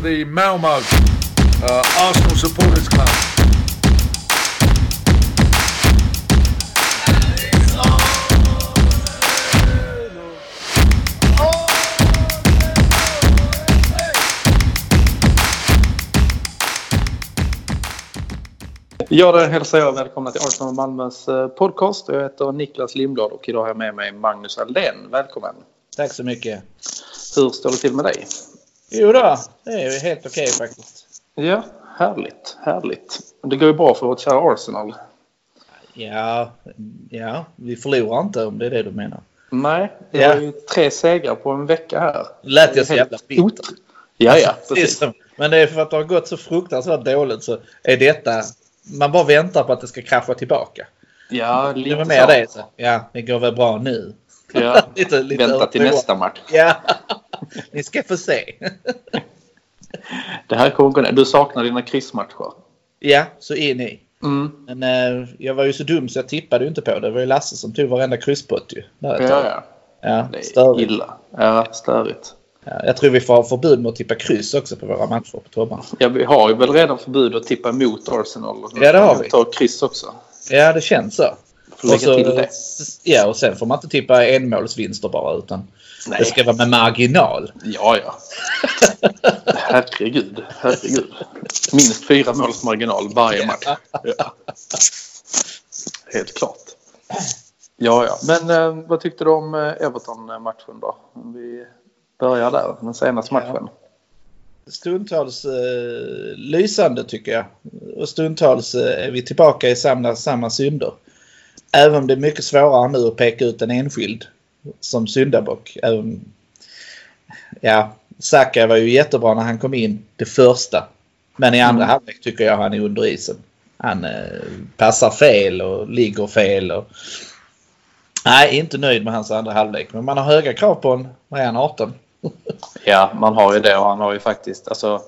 the Malmo uh, Arsenal Supporters Club. Ja, där hälsar jag välkomna till Arsenal och Malmös eh, podcast. Jag heter Niklas Lindblad och idag har jag med mig Magnus Aldén. Välkommen! Tack så mycket. Hur står det till med dig? Jo då, det är ju helt okej faktiskt. Ja, härligt, härligt. Det går ju bra för vårt kära Arsenal. Ja, ja, vi förlorar inte om det är det du menar. Nej, det Ja. var ju tre segrar på en vecka här. Lät jag så jävla bitter? Ot- Ja, ja, precis. Precis. Men det är för att det har gått så fruktansvärt dåligt så är detta... Man bara väntar på att det ska krascha tillbaka. Ja, Det var lite mer så. det. Så. Ja, det går väl bra nu. Ja. Lite, lite Vänta till övertro. nästa match. Ja, ni ska få se. Det här kommer gå ner. Du saknar dina krismatcher. Ja, så in i. Mm. Men eh, jag var ju så dum så jag tippade ju inte på det. Det var ju Lasse som tog varenda krysspott ju. Där ett Ja, tag. ja. ja, Det är störigt. illa. Ja, störigt. Ja, Eh, jag tror vi får ha förbud mot att tippa kryss också på våra matcher på Tobban. Ja, vi har ju väl redan förbud att tippa emot Arsenal. Ja, det har vi. Ta kryss också. Ja, det känns så. Får lägga så- till det. Ja, och sen får man inte tippa enmålsvinster bara utan Nej. det ska vara med marginal. Ja, ja. Herregud, herregud. Minst fyra måls marginal varje match. Ja. Helt klart. Ja, ja. Men eh, vad tyckte du om eh, Everton-matchen då? Om Vi börjar där, den senaste Ja. matchen. Stundtals eh, lysande tycker jag. Och stundtals eh, är vi tillbaka i samma, samma synder. Även om det är mycket svårare nu att peka ut en enskild som syndabock. Även, ja, Saka var ju jättebra när han kom in det första. Men i andra Mm. halvlek tycker jag han är under isen. Han eh, passar fel och ligger fel. Och... Nej, inte nöjd med hans andra halvlek. Men man har höga krav på en, vad är han, 18? Ja, man har ju det och han har ju faktiskt, alltså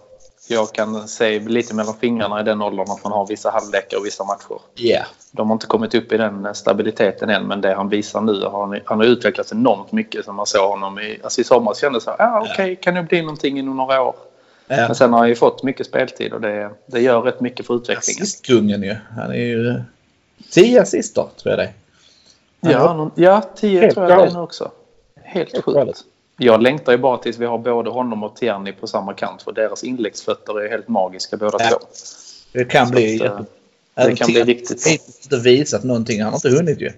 jag kan se lite mellan fingrarna i den åldern att man har vissa halvlekar och vissa matcher. Ja. De har inte kommit upp i den stabiliteten än men det han visar nu har han, han har utvecklats enormt mycket som man såg honom i, alltså i somras kändes det så här, ah, okej kan det bli någonting inom några år. Ja. Men sen har han ju fått mycket speltid och det, det gör rätt mycket för utvecklingen. Assistkungen ju. Han är ju... eh, Tio assister tror jag det är. Ja, någon, ja 10 Helt tror jag det är galet. nu också. Helt Helt galet. sjukt. Jag längtar ju bara tills vi har både honom och Tierney på samma kant för deras inläggsfötter är helt magiska båda Ja. två. Det kan bli... Så att, eh, även kan till- bli riktigt bra. Han har inte visat någonting. Han har inte hunnit ju.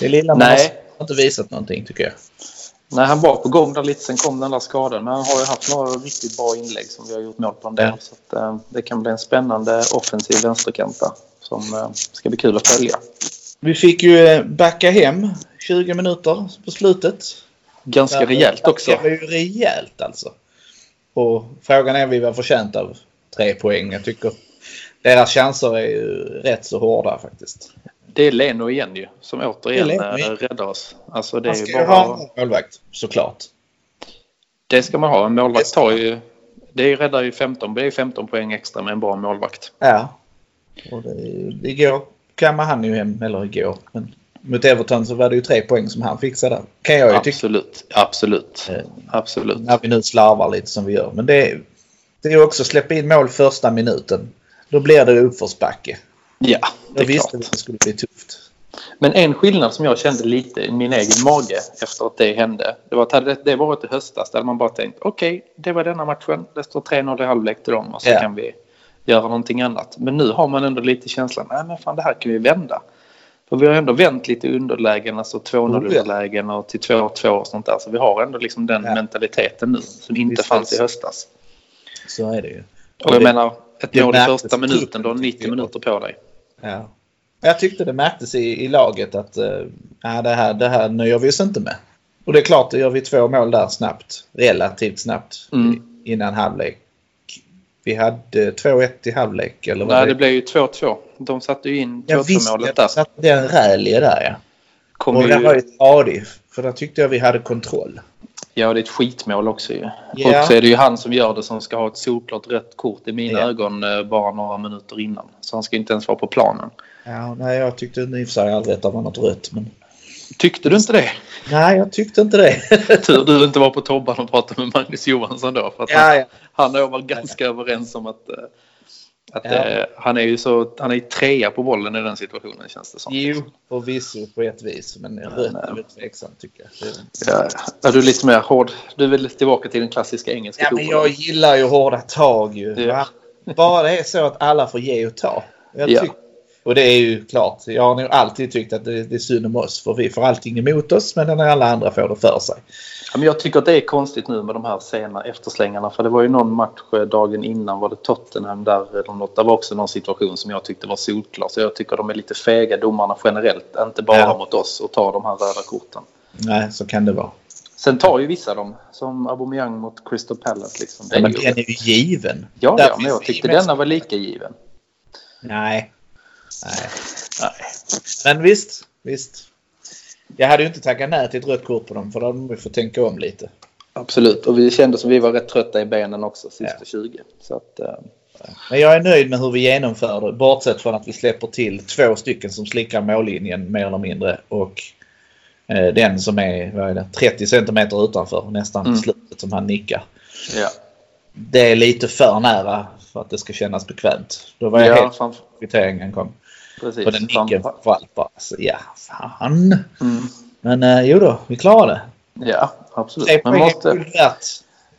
Det lilla man Nej. har inte visat någonting tycker jag. Nej, han var på gång där lite, sen kom den där skadan. Men han har ju haft några riktigt bra inlägg som vi har gjort mål på en del. Ja. Så att, eh, det kan bli en spännande offensiv vänsterkant där, som eh, ska bli kul att följa. Vi fick ju eh, backa hem 20 minuter på slutet. Ganska rejält också. Det var ju rejält alltså. Och frågan är om vi var förtjänta av tre poäng. Jag tycker deras chanser är ju rätt så hårda faktiskt. Det är Leno igen ju, som återigen Det är Leno eh, igen. räddar oss. Alltså, det, Han är ska ju ju bara, ha en målvakt såklart. det ska man ha. En Det målvakt ska tar ju... Det är ju- räddar ju 15, det är 15 poäng extra med en bra målvakt. Ja. Och det, igår kammade han ju hem, eller igår. Men mot Everton så var det ju tre poäng som han fixade. Kan jag ju tycka. Absolut, absolut, Eh, absolut. När vi nu slarvar lite som vi gör. Men det, det är ju också släppa in mål första minuten. Då blir det uppförsbacke. Ja, det Då är klart. visste vi att det skulle bli tufft. Men en skillnad som jag kände lite i min egen mage efter att det hände. Det var att hade det varit i höstas där man bara tänkt okej, det var denna matchen. Det står 3-0 i halvlek till dem och så Ja. kan vi göra någonting annat. Men nu har man ändå lite känslan, nej men fan det här kan vi vända. För vi har ändå vänt lite i underlägen, alltså 2-0 Oh, ja. underlägen och till 2-2 och sånt där. Så vi har ändå liksom den Ja. mentaliteten nu som inte Visst, fanns i visst. höstas. Så är det ju. Och jag det- menar, ett det mål i märktes första i minuten, truppen, du har tycker 90 jag. minuter på dig. Ja. Jag tyckte det märktes i, i laget att eh, ja, det, här, det här nöjer vi oss inte med. Och det är klart, då gör vi två mål där snabbt. Relativt snabbt Mm. innan halvlek. Vi hade 2-1 i halvlek eller vad Nej, det blev ju 2-2. De satte ju in Jag visste 2-2-målet där. att satt det en rally där ja. Kom och ju- det var ju stadig. För där tyckte jag vi hade kontroll. Ja, det är ett skitmål också ju. Ja. Och så är det ju han som gör det som ska ha ett solklart rött kort i mina Ja. ögon eh, bara några minuter innan. Så han ska inte ens vara på planen. Ja, nej jag tyckte i och för sig aldrig att det var något rött. Men... Tyckte du inte det? Nej, jag tyckte inte det. Tur du inte var på Tobban och pratade med Magnus Johansson då. För att ja, ja. Han och jag var ganska överens om att, eh, att Ja. eh, han är ju så, han är ju trea på bollen i den situationen känns det som. Jo, förvisso på ett vis. Men rött är väl tveksamt tycker jag. Det- Ja, ja. Är du lite mer hård? Du är väl tillbaka till den klassiska engelska Ja, men fotbollen? jag gillar ju hårda tag ju. Ja. va? Bara det är så att alla får ge och ta. Jag Ja. tyck- Och det är ju klart. Jag har nog alltid tyckt att det, det är synd om oss. För vi får allting emot oss men när alla andra får det för sig. Ja, men jag tycker att det är konstigt nu med de här sena efterslängarna. För det var ju någon match eh, dagen innan var det Tottenham där eller något. Det var också någon situation som jag tyckte var solklar. Så jag tycker de är lite fega domarna generellt. Inte bara Ja. mot oss och tar de här röda korten. Nej, så kan det vara. Sen tar ju vissa dem. Som Aubameyang mot Crystal Palace. Liksom. Det är Men ju- den är ju given. Ja, Där ja, men finns jag det tyckte gemensamt. denna var lika given. Nej. Nej. Men visst, visst. Jag hade ju inte tackat nej till ett rött kort på dem för då hade de ju fått tänka om lite. Absolut, och vi kände som vi var rätt trötta i benen också sista Ja. 20. Så att, eh, Men jag är nöjd med hur vi genomför det. Bortsett från att vi släpper till två stycken som slickar mållinjen mer eller mindre. Och eh, den som är, vad är det, 30 centimeter utanför nästan Mm. slutet som han nickar. ja. Det är lite för nära för att det ska kännas bekvämt. Då var jag ja, helt fram- kvitteringen kom. precis. På den nicken Fram- framförallt bara. Så, ja, fan. Mm. Men eh, jo då, vi klarar det. Ja, absolut. Tre poäng Men är måste, guld värt.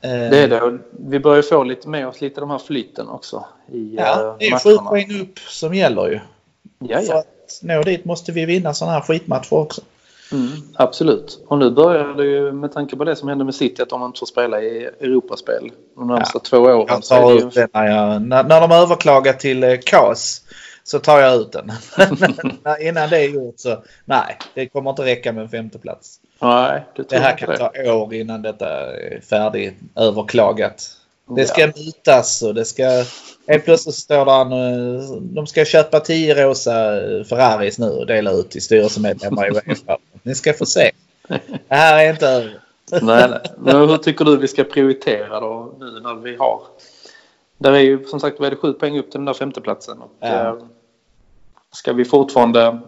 Eh, det är det. och Vi börjar få lite med oss lite de här flytten också i Ja, ja, det är ju sju matcherna. poäng upp som gäller ju. Ja, För ja. att nå dit måste vi vinna sådana här skitmatcher också. Mm, absolut. Och nu börjar det ju med tanke på det som hände med City att de inte får spela i Europaspel de närmsta två åren. Jag så är det tar ju- ut den när, jag, när, när de överklagar till eh, KAS så tar jag ut den. När- Innan det är gjort så nej, det kommer inte räcka med en femteplats. Nej, du Det tror här inte kan det. ta år innan detta är färdigt överklagat. Det ska Ja. mutas och det ska... Helt plötsligt står där en, eh, de ska köpa 10 rosa eh, Ferraris nu och dela ut till styrelsemedlemmar i Uefa. Ni ska få se. Det här är inte över. Nej, nej. Men hur tycker du vi ska prioritera då nu när vi har? Där är ju som sagt vad är det, sju poäng upp till den där femteplatsen. Och, Ja. eh, ska vi fortfarande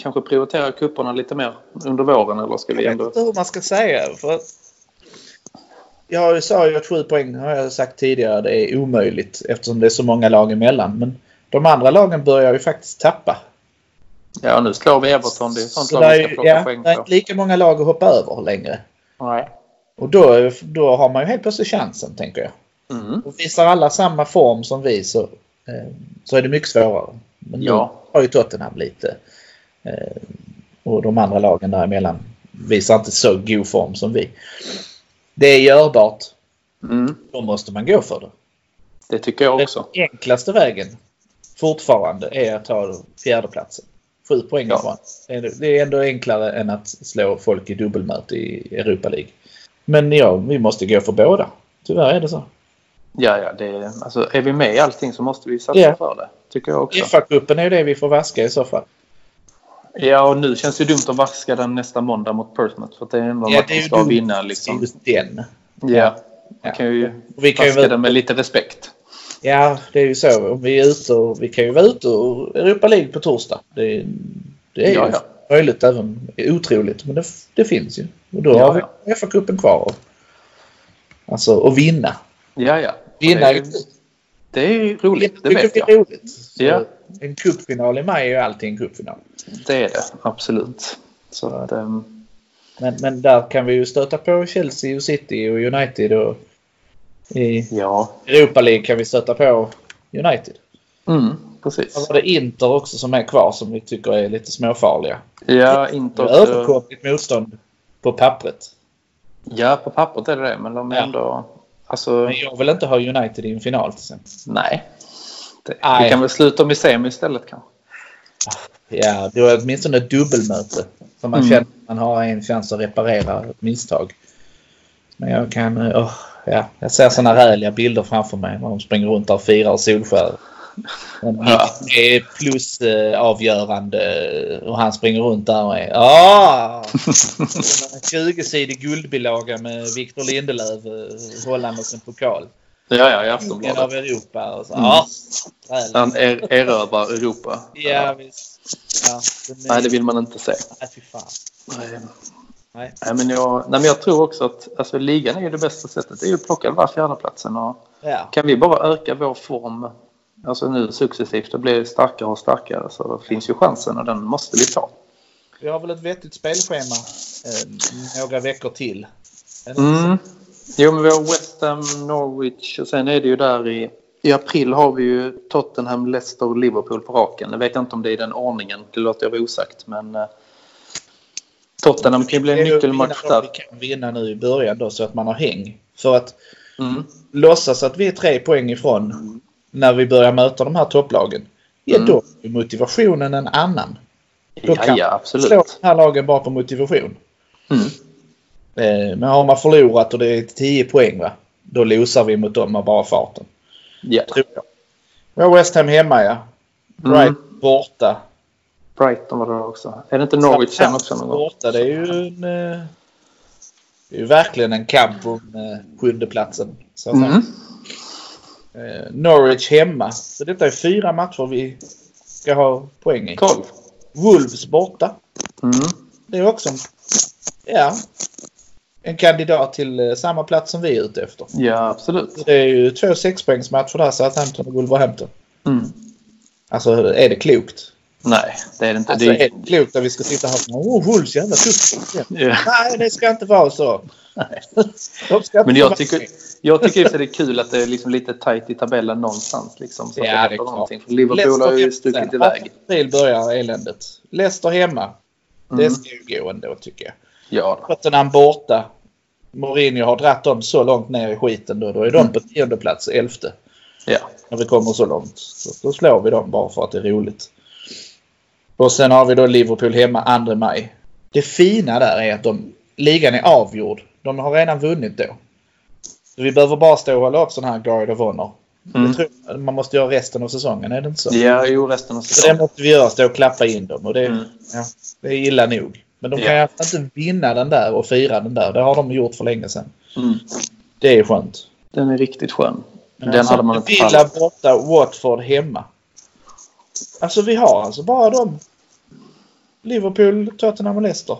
kanske prioritera kupperna lite mer under våren eller ska vi Jag vet ändå... inte hur man ska säga. För att jag sa ju att sju poäng har jag sagt tidigare det är omöjligt eftersom det är så många lag emellan. Men de andra lagen börjar ju faktiskt tappa. Ja, nu slår vi Everton. Det är sånt Så lag där vi är, ska ju- plocka ja, poäng det är på. inte lika många lag att hoppa över längre. Nej. Och då, då har man ju helt plötsligt chansen tänker jag. Mm. Och visar alla samma form som vi så, eh, så är det mycket svårare. Men Ja. nu har ju Tottenham lite eh, och de andra lagen däremellan visar inte så god form som vi. Det är görbart Mm. då måste man gå för det. Det tycker jag också. Den enklaste vägen fortfarande är att ta fjärdeplatsen. Sju poäng Ja. ifrån. Det är- Det är ändå enklare än att slå folk i dubbelmöte i Europa League. Men ja, vi måste gå för båda. Tyvärr är det så. Ja, ja, det är, alltså, är vi med i allting så måste vi satsa Ja. för det. Tycker jag också. FA-cupen är ju det vi får vaska i så fall. Ja, och nu känns det ju dumt att vaska den nästa måndag mot Portsmouth. För att det är ändå en match vi ska dumt. vinna. Det är Liksom. Just den. Ja, Ja. man kan ju Och Vi kan ju vaska vara, den med lite respekt. ja, det är ju så. Om Vi, är ute och, vi kan ju vara ute och Europa League på torsdag. Det, är- det är Ja, ju ja. möjligt även otroligt. Men det, det finns ju. Och då Ja, har vi FA-cupen kvar. Och, alltså, och vinna. Ja, ja. Vinna det, är är, det är roligt, det tycker vet vi jag. är roligt. Så Ja. En cupfinal i maj är ju alltid en cupfinal. Det är det, absolut. Så att, ehm, Men, men där kan vi ju stöta på Chelsea och City och United. Och I ja. Europa League kan vi stöta på United. Mm, Sen precis. var det Inter också som är kvar som vi tycker är lite småfarliga. Ja, inte Det är också, Överkomligt motstånd på pappret. ja, på pappret är det det, men de är Ja. ändå... Alltså, Men jag vill inte ha United i en final till exempel. nej. Det, Nej. Vi kan väl sluta med semi istället kanske. Ja, det var åtminstone ett dubbelmöte. Så man Mm. känner att man har en chans att reparera ett misstag. Men jag kan... eh, åh, ja, jag ser såna räliga bilder framför mig när de springer runt där och firar Solskär. Men Ja. Det är plus eh, avgörande och han springer runt där och är... Ah! 20-sidig guldbilaga med Victor Lindelöf eh, hållandes en pokal. Ja, ja, i Kungen Aftonbladet. av Europa och så. Mm. Ja, räligt. Han er, erövrar Europa. Ja, visst. Ja, den är- Nej, det vill man inte se. Nej, fy fan. Nej. Nej. Nej, men jag, nej, men jag tror också att alltså, ligan är ju det bästa sättet. Det är ju att plocka den här fjärdeplatsen. Och Ja. kan vi bara öka vår form alltså nu successivt och bli starkare och starkare så finns ju chansen och den måste vi ta. Vi har väl ett vettigt spelschema eh, några veckor till. Är det inte så? Mm. Jo, men vi har West Ham, Norwich och sen är det ju där i... I april har vi ju Tottenham, Leicester och Liverpool på raken. Jag vet inte om det är i den ordningen. Det låter jag vara osagt, men... eh, Tottenham kan ju bli Det är en ju nyckelmatch vinna dem där. Vi kan vinna nu i början då så att man har häng. För att Mm. låtsas att vi är tre poäng ifrån när vi börjar möta de här topplagen. Ja, Mm. då är motivationen en annan. Då Ja, kan- ja, Slå absolut. de här lagen bara på motivation. Mm. Eh, Men har man förlorat och det är 10 poäng va? Då losar vi mot dem med bara farten. Ja. Tror jag. Vi har West Ham hemma ja. Bright Mm. borta. Brighton var det också. Är det inte Norwich sen också någon gång? Borta, det är ju en... eh, Det är ju verkligen en kamp om eh, sjundeplatsen. Så att Mm. säga. Eh, Norwich hemma. Så detta är fyra matcher vi ska ha poäng i. 12. Wolves borta. Mm. Det är också en, ja, en kandidat till eh, samma plats som vi är ute efter. Ja, absolut. Det är ju två sexpoängsmatcher där, Southampton och Wolverhampton. Mm. Alltså, är det klokt? Nej, det är det inte. Alltså, det är är... det klokt att vi ska sitta här och åh, Wolves jävla tufft. Ja. Nej, det ska inte vara så. De ska inte Men vara- jag tycker, jag tycker i och för sig det är kul att det är liksom lite tajt i tabellen någonstans. Liksom, så att Ja, det är händer klart. någonting. För Liverpool har ju hemma stuckit sen. iväg. 18 april börjar eländet. Leicester hemma. Det Mm. ska ju gå ändå tycker jag. Ja, då. Tottenham borta. Mourinho har dratt dem så långt ner i skiten då. Då är de på Mm. tionde plats, elfte. ja. När vi kommer så långt. Så då slår vi dem bara för att det är roligt. Och sen har vi då Liverpool hemma 2 maj. Det fina där är att de, ligan är avgjord. De har redan vunnit då. Så vi behöver bara stå och hålla upp sån här Guard of Honor. Mm. Jag tror man måste göra resten av säsongen, är det inte så? ja jo, resten av Så det säsongen. måste vi göra, stå och klappa in dem. Och det, Mm. ja, det är illa nog. Men de kan Ja. ju inte vinna den där och fira den där. Det har de gjort för länge sedan. Mm. Det är skönt. Den är riktigt skön. Den Alltså, hade man inte Villa fallit. borta, Watford hemma. Alltså vi har alltså bara dem. Liverpool, Tottenham och Leicester.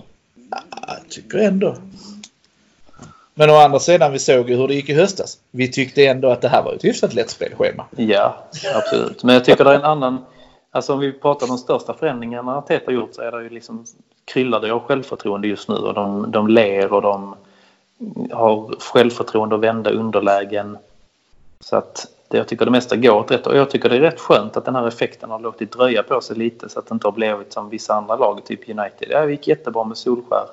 Ja, jag tycker ändå. Men å andra sidan, vi såg ju hur det gick i höstas. Vi tyckte ändå att det här var ett hyfsat lätt spelschema. Ja, absolut. Men jag tycker det är en annan... Alltså om vi pratar om de största förändringarna Arteta har gjort så är det ju liksom kryllade av självförtroende just nu och de, de ler och de har självförtroende att vända underlägen. Så att det, jag tycker det mesta går åt rätt och jag tycker det är rätt skönt att den här effekten har låtit dröja på sig lite så att det inte har blivit som vissa andra lag, typ United. Ja, det gick jättebra med Solskär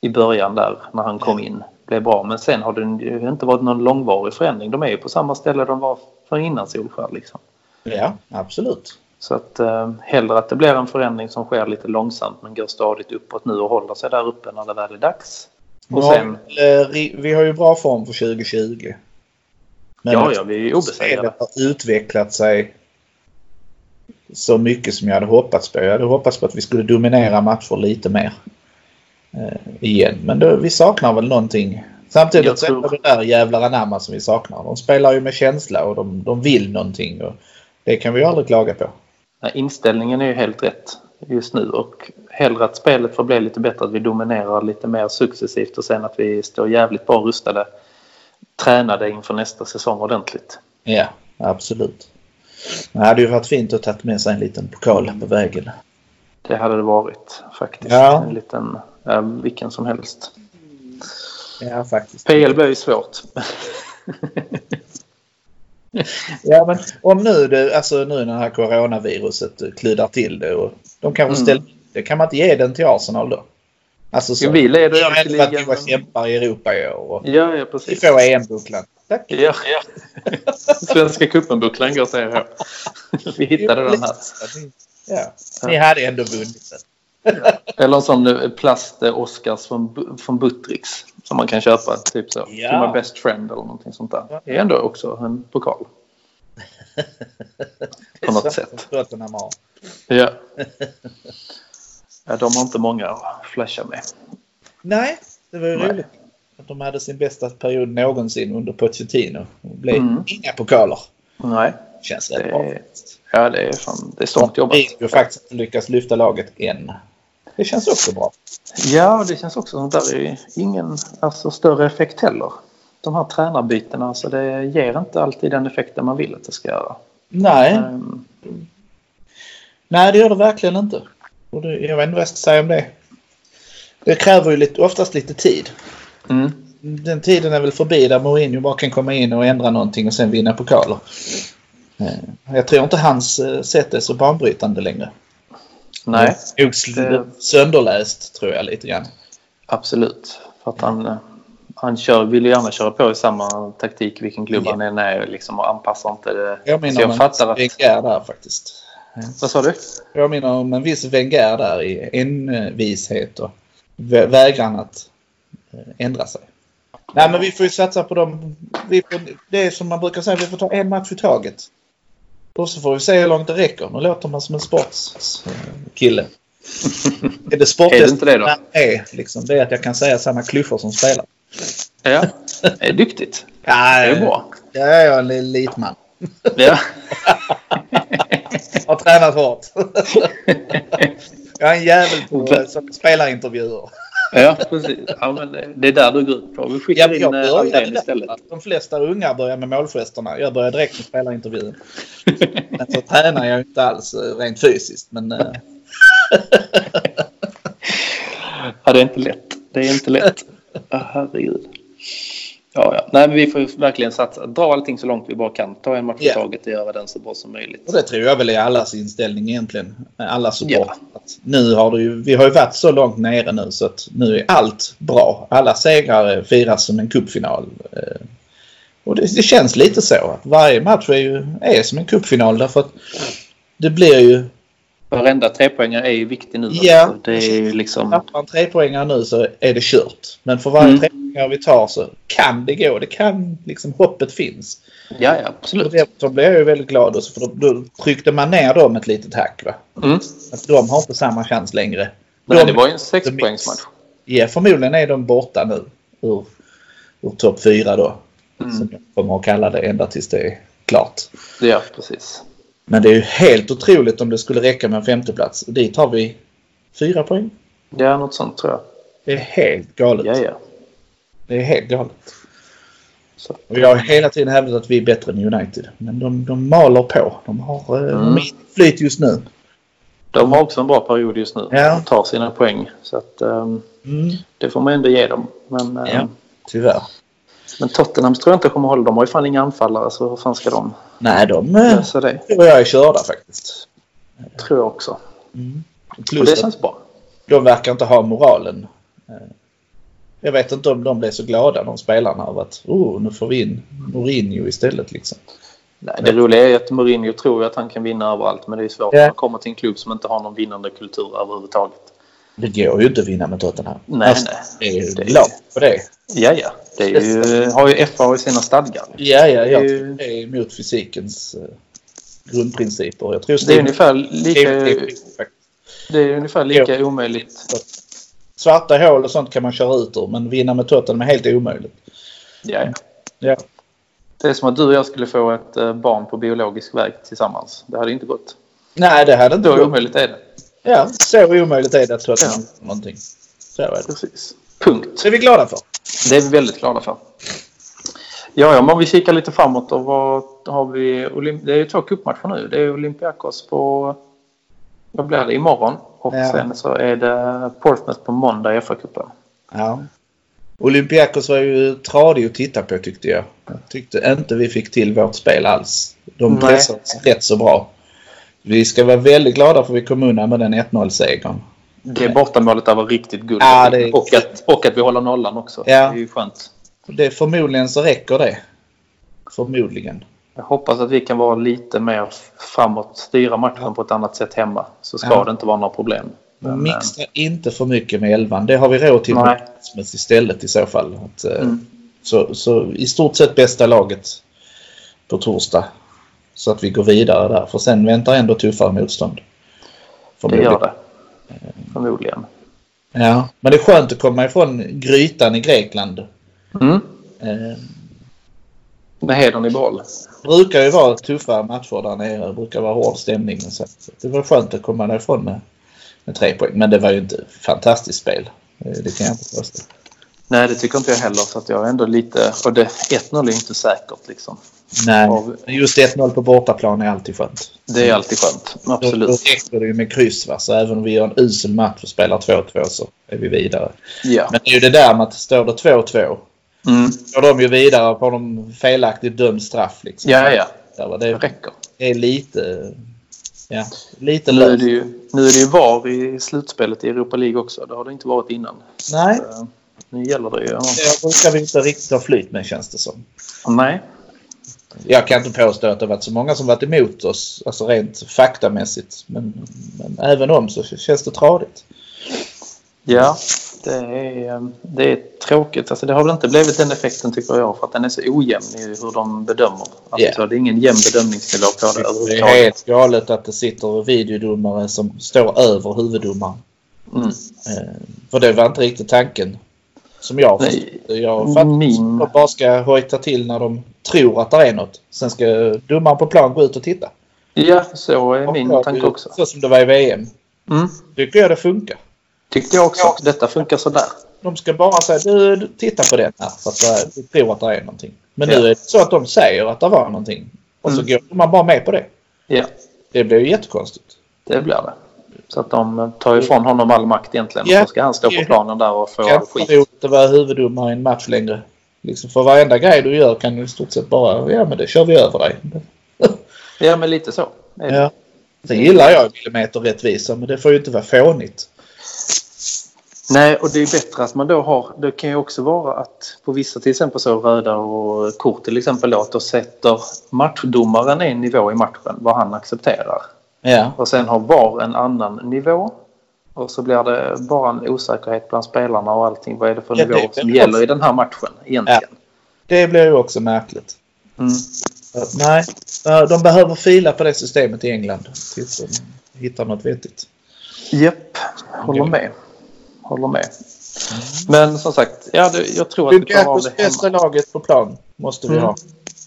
i början där när han kom in. Blev bra, men sen har det ju inte varit någon långvarig förändring. De är ju på samma ställe de var för innan Solskär liksom. Ja, absolut. Så att eh, hellre att det blir en förändring som sker lite långsamt men går stadigt uppåt nu och håller sig där uppe när det väl är dags. Nu Och har sen, vi, väl, eh, ri- vi har ju bra form för 2020. Men ja, att ja, vi är ju obesegrade. spelet har utvecklat sig så mycket som jag hade hoppats på. Jag hade hoppats på att vi skulle dominera matcher lite mer. Eh, igen. Men då, vi saknar väl någonting. Samtidigt Jag så är tror- det det där jävlar anamma som vi saknar. De spelar ju med känsla och de, de vill någonting. Och det kan vi ju aldrig klaga på. Nej, inställningen är ju helt rätt just nu och hellre att spelet får bli lite bättre, att vi dominerar lite mer successivt och sen att vi står jävligt bra rustade, tränade inför nästa säsong ordentligt. Ja, absolut. Det hade ju varit fint att tagit med sig en liten pokal på vägen. Det hade det varit faktiskt. Ja. En liten, ja, vilken som helst. Ja, faktiskt. PL blir ju svårt. Ja, men om nu, det, alltså nu när det här coronaviruset kluddar till det och de kanske Mm. ställer det, kan man inte ge den till Arsenal då? Alltså så. Jo, vi leder det ju är inte för att vi ligan. var kämpar i Europa i år och Ja, ja, vi precis. får EM-bucklan. Tack! Ja, ja. Svenska cupen-bucklan går till er här. Vi hittade den här. Ja. Ni hade ändå vunnit den. Eller en sån plast-Oscars eh, från, Bu- från Buttricks. Som man kan köpa. Typ så. Ja. To my best friend eller någonting sånt där. Det är ändå också en pokal. På något sätt. Tottenham har. Ja. ja. De har inte många att flasha med. Nej, det var ju Nej. roligt. Att de hade sin bästa period någonsin under Pochettino. Det blev Mm. inga pokaler. Nej. Känns Det rätt bra. är, ja, det är fan det är stort jobbat. Vi har ju faktiskt inte lyckats lyfta laget än. Det känns också bra. Ja, det känns också som att där är ingen alltså, större effekt heller. De här tränarbytena, alltså, det ger inte alltid den effekten man vill att det ska göra. Nej, Ehm, nej det gör det verkligen inte. Och det, jag vet inte vad jag ska säga om det. Det kräver ju lite, oftast lite tid. Mm. Den tiden är väl förbi där Mourinho bara kan komma in och ändra någonting och sen vinna pokaler. Eh, Jag tror inte hans eh, sätt är så banbrytande längre. Nej, Det är nog sl- Det- Sönderläst tror jag lite grann. absolut. För att han, eh, han kör, vill ju gärna köra på i samma taktik vilken klubb Ja. han än är liksom, och anpassar inte det. Jag menar Så jag om fattar en att- viss Wenger där faktiskt. Vad sa du? Jag menar om en viss Wenger där i envishet och vä- vägran att eh, ändra sig. Nej men vi får ju satsa på dem. Vi får, det är som man brukar säga, vi får ta en match i taget. Och så får vi se hur långt det räcker. Nu låter man som en sportskille. är det Är det sportest inte det då? är, liksom, det är att jag kan säga samma klyschor som spelar. Ja, det är duktigt. Ja, Det är bra. Jag är en elitman. Ja. Har tränat hårt. jag är en jävel på eh, som spelarintervjuer. Ja, precis. Ja, men det- det är där du går ut på. Vi skickar Jag, jag in eh, började Andrén där. istället. De flesta unga börjar med målgesterna. Jag börjar direkt med spelarintervjun. Men så tränar jag ju inte alls eh, rent fysiskt. Men eh, Ja, det är inte lätt. Det är inte lätt. Ja, herregud. Ja, ja. Nej, men vi får ju verkligen satsa. Dra allting så långt vi bara kan. Ta en match i Ja. taget och göra den så bra som möjligt. och det tror jag väl är allas inställning egentligen. Alla support. Ja. Att Nu har det ju, vi har ju varit så långt nere nu så att nu är allt bra. Alla segrar eh, firas som en cupfinal. Eh, Och det, det känns lite så. att Varje match är ju är som en cupfinal därför att det blir ju Varenda trepoängare är ju viktig nu. Ja. alltså. Det är ju liksom... Tappar man tre poängar nu så är det kört. Men för varje Mm. tre poängar vi tar så kan det gå. Det kan liksom hoppet finns. Ja, ja, Och absolut. Då blev jag ju väldigt glad också för då, då tryckte man ner dem ett litet hack. Va? Mm. Att de har inte samma chans längre. Nej, De- det var ju en sexpoängsmatch. Ja, förmodligen är de borta nu ur, ur topp fyra då. Mm. Som jag kommer att kalla det ända tills det är klart. Ja, precis. Men det är ju helt otroligt om det skulle räcka med en femteplats. Och dit har vi fyra poäng. Ja, något sånt tror jag. Det är helt galet. Ja, ja. Det är helt galet. Så. Och jag har hela tiden hävdat att vi är bättre än United. Men de, de maler på. De har eh, Mm. flyt just nu. De har också en bra period just nu. Ja. De tar sina poäng. Så att, ehm, det får man ändå ge dem. Men, ehm, Ja. Tyvärr. men Tottenham tror jag inte kommer hålla. De har ju fan inga anfallare så hur fan ska de Nej, de eh, lösa det? tror jag är körda faktiskt. Tror jag också. Och Plus det att känns bra. de verkar inte ha moralen. Eh, Jag vet inte om de blev så glada, de spelarna, av att oh, nu får vi in Mourinho istället. Liksom. Nej, det roliga är ju att Mourinho tror ju att han kan vinna överallt men det är svårt Ja. när man kommer till en klubb som inte har någon vinnande kultur överhuvudtaget. Det går ju inte att vinna med Tottenham. Nej, Alltså, nej. Jag är ju Det- glad för det. Ja, ja. Det är ju, har ju FA har ju sina stadgar. Ja, ja, jag Det är ju- tror det är emot fysikens eh, grundprinciper. Jag tror Det är ungefär lika, lika... det är ungefär lika omöjligt. Svarta hål och sånt kan man köra ut ur men vinna med Tottenham är helt omöjligt. Ja, ja. Ja. Det är som att du och jag skulle få ett eh, barn på biologisk väg tillsammans. Det hade inte gått. Nej, det hade inte Då gått. omöjligt är det. Ja, så omöjligt är det att Tottenham ja. någonting. Så är det. Precis. Punkt. Det är vi glada för. Det är vi väldigt glada för. Ja, ja, men om vi kikar lite framåt och vad har vi? Olymp- det är ju två cupmatcher nu. Det är Olympiakos på... Vad blir det? Imorgon. Och Ja. sen så är det Portsmouth på måndag i FA-cupen. Ja. Olympiakos var ju tradig att titta på tyckte jag. Jag tyckte inte vi fick till vårt spel alls. De Nej. pressade oss rätt så bra. Vi ska vara väldigt glada för att vi kom undan med den 1-0-segern. Det bortamålet där var riktigt guld. Ja, det är- och, att, och att vi håller nollan också. Ja. Det är ju skönt. Det, förmodligen så räcker det. Förmodligen. Jag hoppas att vi kan vara lite mer framåt. Styra matchen på ett annat sätt hemma. Så ska Ja. det inte vara några problem. Men, eh, Mixtra inte för mycket med elvan. Det har vi råd till Nej. men istället i så fall. Att, eh, Mm. så, så i stort sett bästa laget på torsdag. Så att vi går vidare där. För sen väntar ändå tuffare motstånd. eh, det gör Förmodligen. det. Förmodligen. Ja. Men det är skönt att komma ifrån grytan i Grekland. Mm. Eh, Med hedern i behåll. det brukar ju vara tuffa matcher där nere. Det brukar vara hård stämning. och Så att det var skönt att komma därifrån med med tre poäng. Men det var ju inte fantastiskt spel. Eh, Det kan jag inte påstå. Nej, det tycker inte jag heller. Så att jag är ändå lite... Och det 1-0 är inte säkert liksom. Nej, Av- men just 1-0 på bortaplan är alltid skönt. Det är alltid skönt. Då Absolut. räcker det ju med kryss. Va? Så även om vi gör en usel match och spelar 2-2 så är vi vidare. Ja. Men det är ju det där med att står det 2-2 Mm. går de ju vidare på de felaktigt dömd straff. Liksom. Ja, ja. Där, va? Det Det räcker. är lite... Ja, lite Nu är, löst. det ju, nu är det ju VAR i slutspelet i Europa League också. Det har det inte varit innan. Nej, Så, Nu gäller det ju. Ja. det brukar vi inte riktigt ha flyt med känns det som. Nej. Jag kan inte påstå att det har varit så många som varit emot oss, alltså rent faktamässigt. Men, men även om så känns det tradigt. Ja, det är, eh, det är tråkigt. Alltså, det har väl inte blivit den effekten tycker jag för att den är så ojämn i hur de bedömer. Alltså, Ja. Det är ingen jämn bedömningsnivå på det Det är överhuvudtaget. helt galet att det sitter videodomare som står över huvuddomaren. Mm. Eh, För det var inte riktigt tanken. Som jag Nej. förstod det. Jag fattar Min- att de bara ska hojta till när de tror att det är något. Sen ska domaren på plan gå ut och titta. Ja, så är min Och- tanke också. Så som det var i VM. Mm. Tycker jag det funkar. Tyckte jag också. Detta funkar sådär. De ska bara säga du, du titta på den här för att det är- vi tror att det är någonting. Men Ja. Mm. nu är det så att de säger att det var någonting. Och så går man bara med på det. Ja, Det blir ju jättekonstigt. det blir det. Så att de eh, tar ifrån honom all makt egentligen. Ja. Och så ska han stå på Ja. planen där och få Jag all tror skit. inte att vara huvuddomare i en match längre. Liksom för varenda grej du gör kan du i stort sett bara, ja men det kör vi över dig. Ja, men lite så. är det. Ja. Sen gillar jag millimeterrättvisa men det får ju inte vara fånigt. Nej, och det är bättre att man då har... Det kan ju också vara att på vissa till exempel så röda och kort till exempel då, att då sätter matchdomaren en nivå i matchen vad han accepterar. Ja. Och sen har VAR en annan nivå. Och så blir det bara en osäkerhet bland spelarna och allting. Vad är det för Ja, det är nivå väl som också- gäller i den här matchen egentligen? Det blir ju också märkligt. Mm. Så, Nej, eh, de behöver fila på det systemet i England tills de hittar något vettigt. Japp, håller med. Håller med. Men som sagt, ja, det, jag tror att vi klarar av Lukakos det hemma. bästa laget på plan måste vi Mm. ha.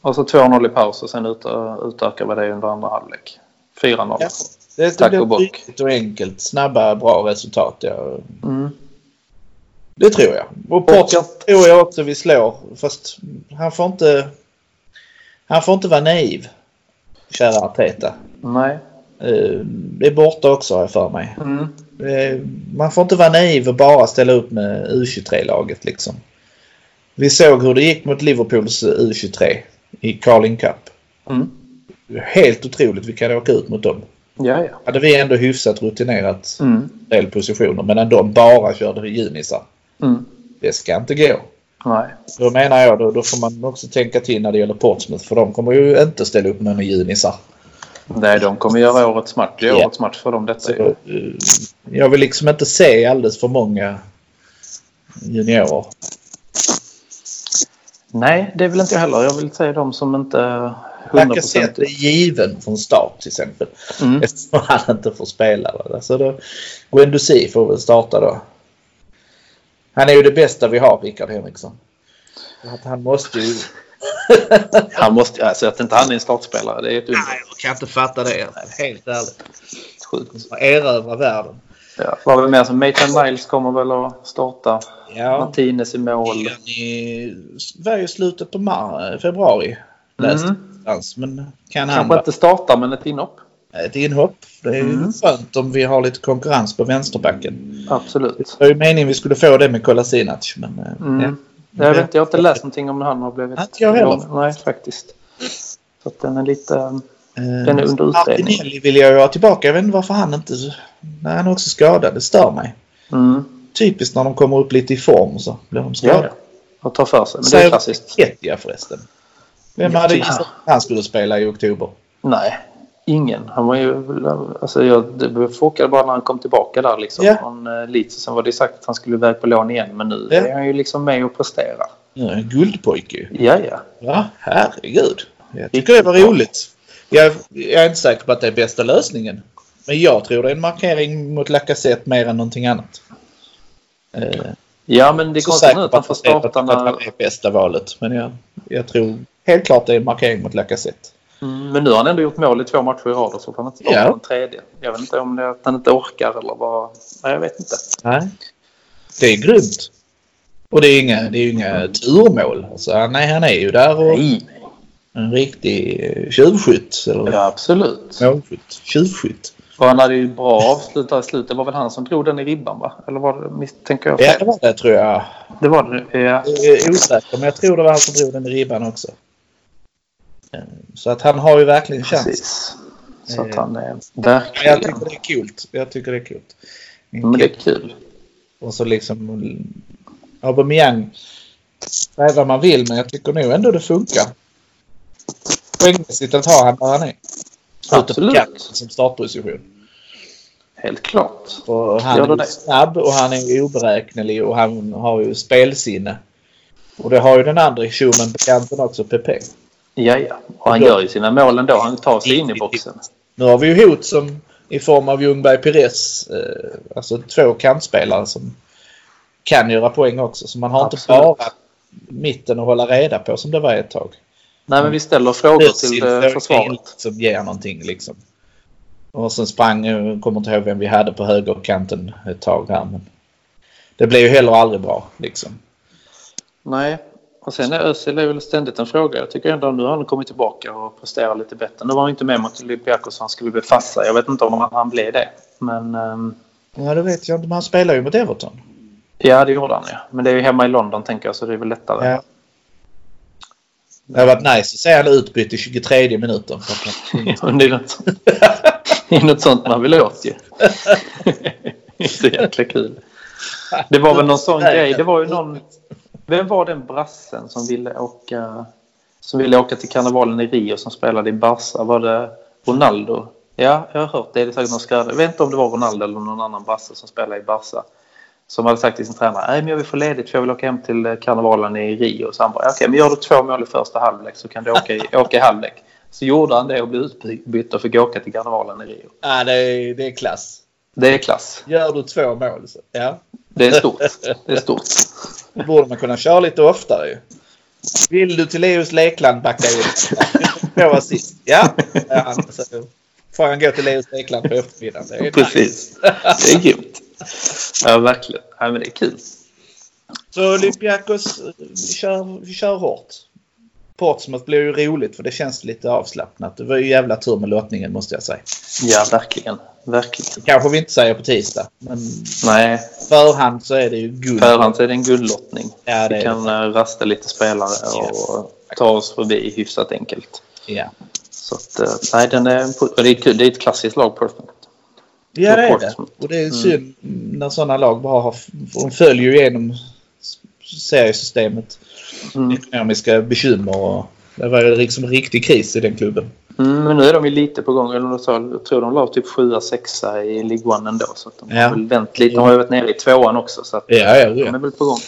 Och så 2-0 i paus och sen ut, utökar vi det under andra halvlek. 4-0. Ja. Det, Tack det och bock. blir tydligt och enkelt. Snabba, bra resultat. Ja. Mm. Det tror jag. Och Portugal tror jag också vi slår. Fast han får inte... Han får inte vara naiv. Kära Arteta. Nej. Eh, Det är borta också har jag för mig. Mm. Eh, Man får inte vara naiv och bara ställa upp med U23-laget liksom. Vi såg hur det gick mot Liverpools U23 i Carling Cup. Mm. Helt otroligt vi kan åka ut mot dem. Ja, ja. Hade vi ändå hyfsat rutinerat Mm. en del positioner medan de bara körde junisar. Mm. Det ska inte gå. Nej. Då menar jag då, då får man också tänka till när det gäller Portsmouth för de kommer ju inte ställa upp med några junisar. Nej, de kommer göra årets match. Det är Ja. årets match för dem detta. Så, eh, Jag vill liksom inte se alldeles för många juniorer. Nej, det vill inte jag heller. Jag vill säga de som inte 100 Lacazette är given från start till exempel. Mm. Eftersom han inte får spela. va. Så då, Guendouzi får väl starta då. Han är ju det bästa vi har, Rickard Henriksson. Att han måste ju... Han måste, alltså att inte han är en startspelare, det är ett under. Nej, jag kan inte fatta det. Helt ärligt. Sjukt. Och Erövra världen. Ja. Vad har vi mer? som Maitland Niles kommer väl att starta. Ja. Martinez i mål. I var ju slutet på mar- eh, februari. Läste Mm. någonstans. Men kan han... Kanske vara inte starta, men ett inhopp. Ett inhopp. Det är ju Mm. skönt om vi har lite konkurrens på vänsterbacken. Absolut. Det var ju meningen vi skulle få det med Kolasinac. Men, eh, ja. Mm. Jag, vet, inte, jag har inte läst någonting om han har blivit. Inte jag heller. igång. Nej, faktiskt. Så att den är lite... mm. Eh, Den är under utredning. Martinelli vill jag ju ha tillbaka. Jag vet inte varför han inte... Nej, han är också skadad. Det stör mig. Mm. Typiskt när de kommer upp lite i form så blir de Ja, skadade. ja. Och tar för sig. Men det är klassiskt. Ketia förresten. Vem hade Ja. typ. gissat att han skulle spela i oktober? Nej, ingen. Han var ju... Alltså jag det chockade bara när han kom tillbaka där liksom. Ja. Från eh, Leeds. Och Sen var det ju sagt att han skulle iväg på lån igen. Men nu Ja. är han ju liksom med och presterar. Nu är han en guldpojke ju. Ja, ja. Ja, herregud. Jag tycker det var roligt. Jag, jag är inte säker på att det är bästa lösningen. Men jag tror det är en markering mot Lacazette mer än någonting annat. Eh, Ja, men det är så konstigt säker nu på att han får jag vet starta att han när... är bästa valet. Men jag, jag tror helt klart det är en markering mot Lacazette. Mm, Men nu har han ändå gjort mål i två matcher i rad och så att han inte startar Ja. den tredje. Jag vet inte om det är att han inte orkar eller vad. Nej, jag vet inte. Nej. Det är grymt. Och det är inga, det är ju inga turmål. Alltså, nej, han är ju där och Nej. en riktig eh, tjuvskytt. Eller Ja, absolut. målskytt. Tjuvskytt. Och han hade ju bra avslut där i slutet. Det var väl han som drog den i ribban va? Eller var det, misstänker jag Ja, fel? det var det tror jag. Det var det. Ja. Jag är eh, osäker, men jag tror det var han som drog den i ribban också. Eh, Så att han har ju verkligen chans. Precis. Så att Eh, han är Men jag verkligen... tycker det är kul. Jag tycker det är kul. Men det är kul. Och så liksom... Aubameyang. Säg vad man vill, men jag tycker nog ändå det funkar. Poängmässigt att ha han där han är. Absolut. Utom som startposition. Helt klart. Och han Gör är det. ju snabb och han är ju oberäknelig och han har ju spelsinne. Och det har ju den andra tjommen på kanten också, Pepe. Ja, ja. Och han gör ju sina mål ändå. Han tar sig in i boxen. Nu har vi ju hot som i form av Ljungberg Pires. Eh, alltså två kantspelare som kan göra poäng också. Så man har Absolut. inte bara mitten att hålla reda på som det var ett tag. Nej, men vi ställer frågor till eh, försvaret. Som ger någonting liksom. Och sen sprang, jag kommer inte ihåg vem vi hade på högerkanten ett tag här. Men det blev ju heller aldrig bra liksom. Nej. Och sen är Özil är väl ständigt en fråga. Jag tycker ändå nu har han kommit tillbaka och presterar lite bättre. Nu var han inte med mot Olympiakos så han skulle bli fassa. Jag vet inte om han- han blev det. Men ehm, Ja, det vet jag inte. Men han spelar ju mot Everton. ja, det gjorde han ja. Men det är ju hemma i London tänker jag så det är väl lättare. Ja. Det hade varit nice att se han utbytt i 23 minuten. det är något sånt. det är något sånt man vill åt ju. det är jäkla kul. Det var väl någon sån grej. Det var ju någon... Vem var den brassen som ville åka, som ville åka till karnevalen i Rio som spelade i Barca? Var det Ronaldo? Ja, jag har hört det. Det är säkert någon skräddare. Jag vet inte om det var Ronaldo eller någon annan brasse som spelade i Barca. Som hade sagt till sin tränare nej men jag vill få ledigt för jag vill åka hem till eh, karnevalen i Rio. Så han bara okej men gör du två mål i första halvlek så kan du åka i, åka i halvlek. Så gjorde han det och blev utbytt och fick åka till karnevalen i Rio. Ja, det är, det är klass. Det är klass. Gör du två mål så. Ja. Det är stort. Det är stort. Då borde man kunna köra lite oftare ju. Vill du till EUs lekland backa in? Två assist. Ja. ja han- så får han gå till EUs lekland på eftermiddagen. Det är nice. Precis. Det är grymt. Ja, verkligen. Ja, men det är kul. Så Olympiakos, eh, vi kör, vi kör hårt. Portsmouth blir ju roligt för det känns lite avslappnat. Det var ju jävla tur med lottningen måste jag säga. Ja, verkligen. Verkligen. Kanske vi inte säger på tisdag. Men Nej, förhand så är det ju guld. förhand så är det en guldlottning. Ja, det Vi är kan eh, rasta lite spelare och ta oss förbi hyfsat enkelt. Ja. Så att, eh, nej, den är, en po- och det är kul. Det är ett klassiskt lag, Portsmouth. Ja, det är det. Portsmouth. Och det är synd när sådana lag bara har... för De följer ju igenom s- seriesystemet. Mm. Ekonomiska bekymmer och... Det var ju liksom riktig kris i den klubben. Mm, men nu är de ju lite på gång. Eller de sa- Jag tror de la typ 7 sexa i League One ändå. Så att de Ja. har väl vänt lite. De har ju varit nere i tvåan också. Så att Ja, ja, de är ja. väl på gång.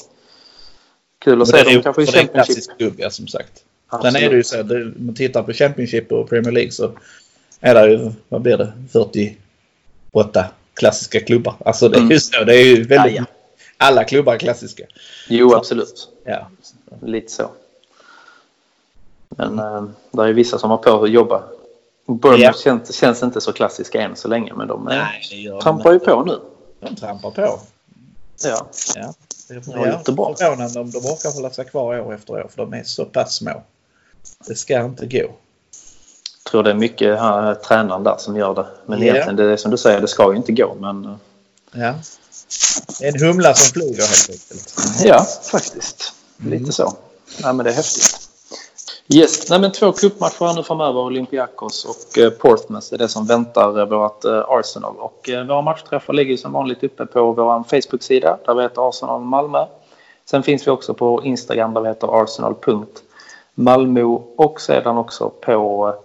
Kul att Det se är ju dem kanske i för det är en Championship. klassisk klubb, ja, som sagt. Sen Absolut. är det ju så att det- om man tittar på Championship och Premier League så är det ju, vad blir det, 48 klassiska klubbar. Alltså det är Mm. ju så. Det är ju väldigt... Ja, ja. Alla klubbar är klassiska. Jo, absolut. Ja. Lite så. Men eh, det är vissa som har på att jobba. Bournemouth Ja. känns, känns inte så klassiska än så länge, men de eh, det gör de trampar ju inte. på nu. De trampar på. Ja, Ja, det var jättebra. Förvånande om de orkar hålla sig kvar år efter år för de är så pass små. Det ska inte gå. jag tror det är mycket här, tränaren där som gör det. Men Ja. egentligen, det är som du säger, det ska ju inte gå. Men eh, Ja. Det är en humla som flyger helt enkelt. ja, faktiskt. Lite så. Ja, men det är häftigt. Yes, Nej, men två cupmatcher här nu framöver. Olympiakos och eh, Portsmouth är det som väntar eh, vårt eh, Arsenal. Och eh, våra matchträffar ligger ju som vanligt uppe på vår Facebook-sida där vi heter Arsenal Malmö. Sen finns vi också på Instagram där vi heter arsenal.malmo och sedan också på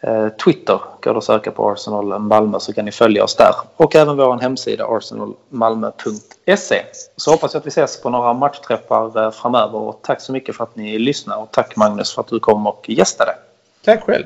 eh, Twitter. Går det att söka på Arsenal Malmö så kan ni följa oss där. Och även vår hemsida arsenalmalmo.se. Så hoppas jag att vi ses på några matchträffar eh, framöver. Och tack så mycket för att ni lyssnar och tack Magnus för att du kom och gästade. Tack själv.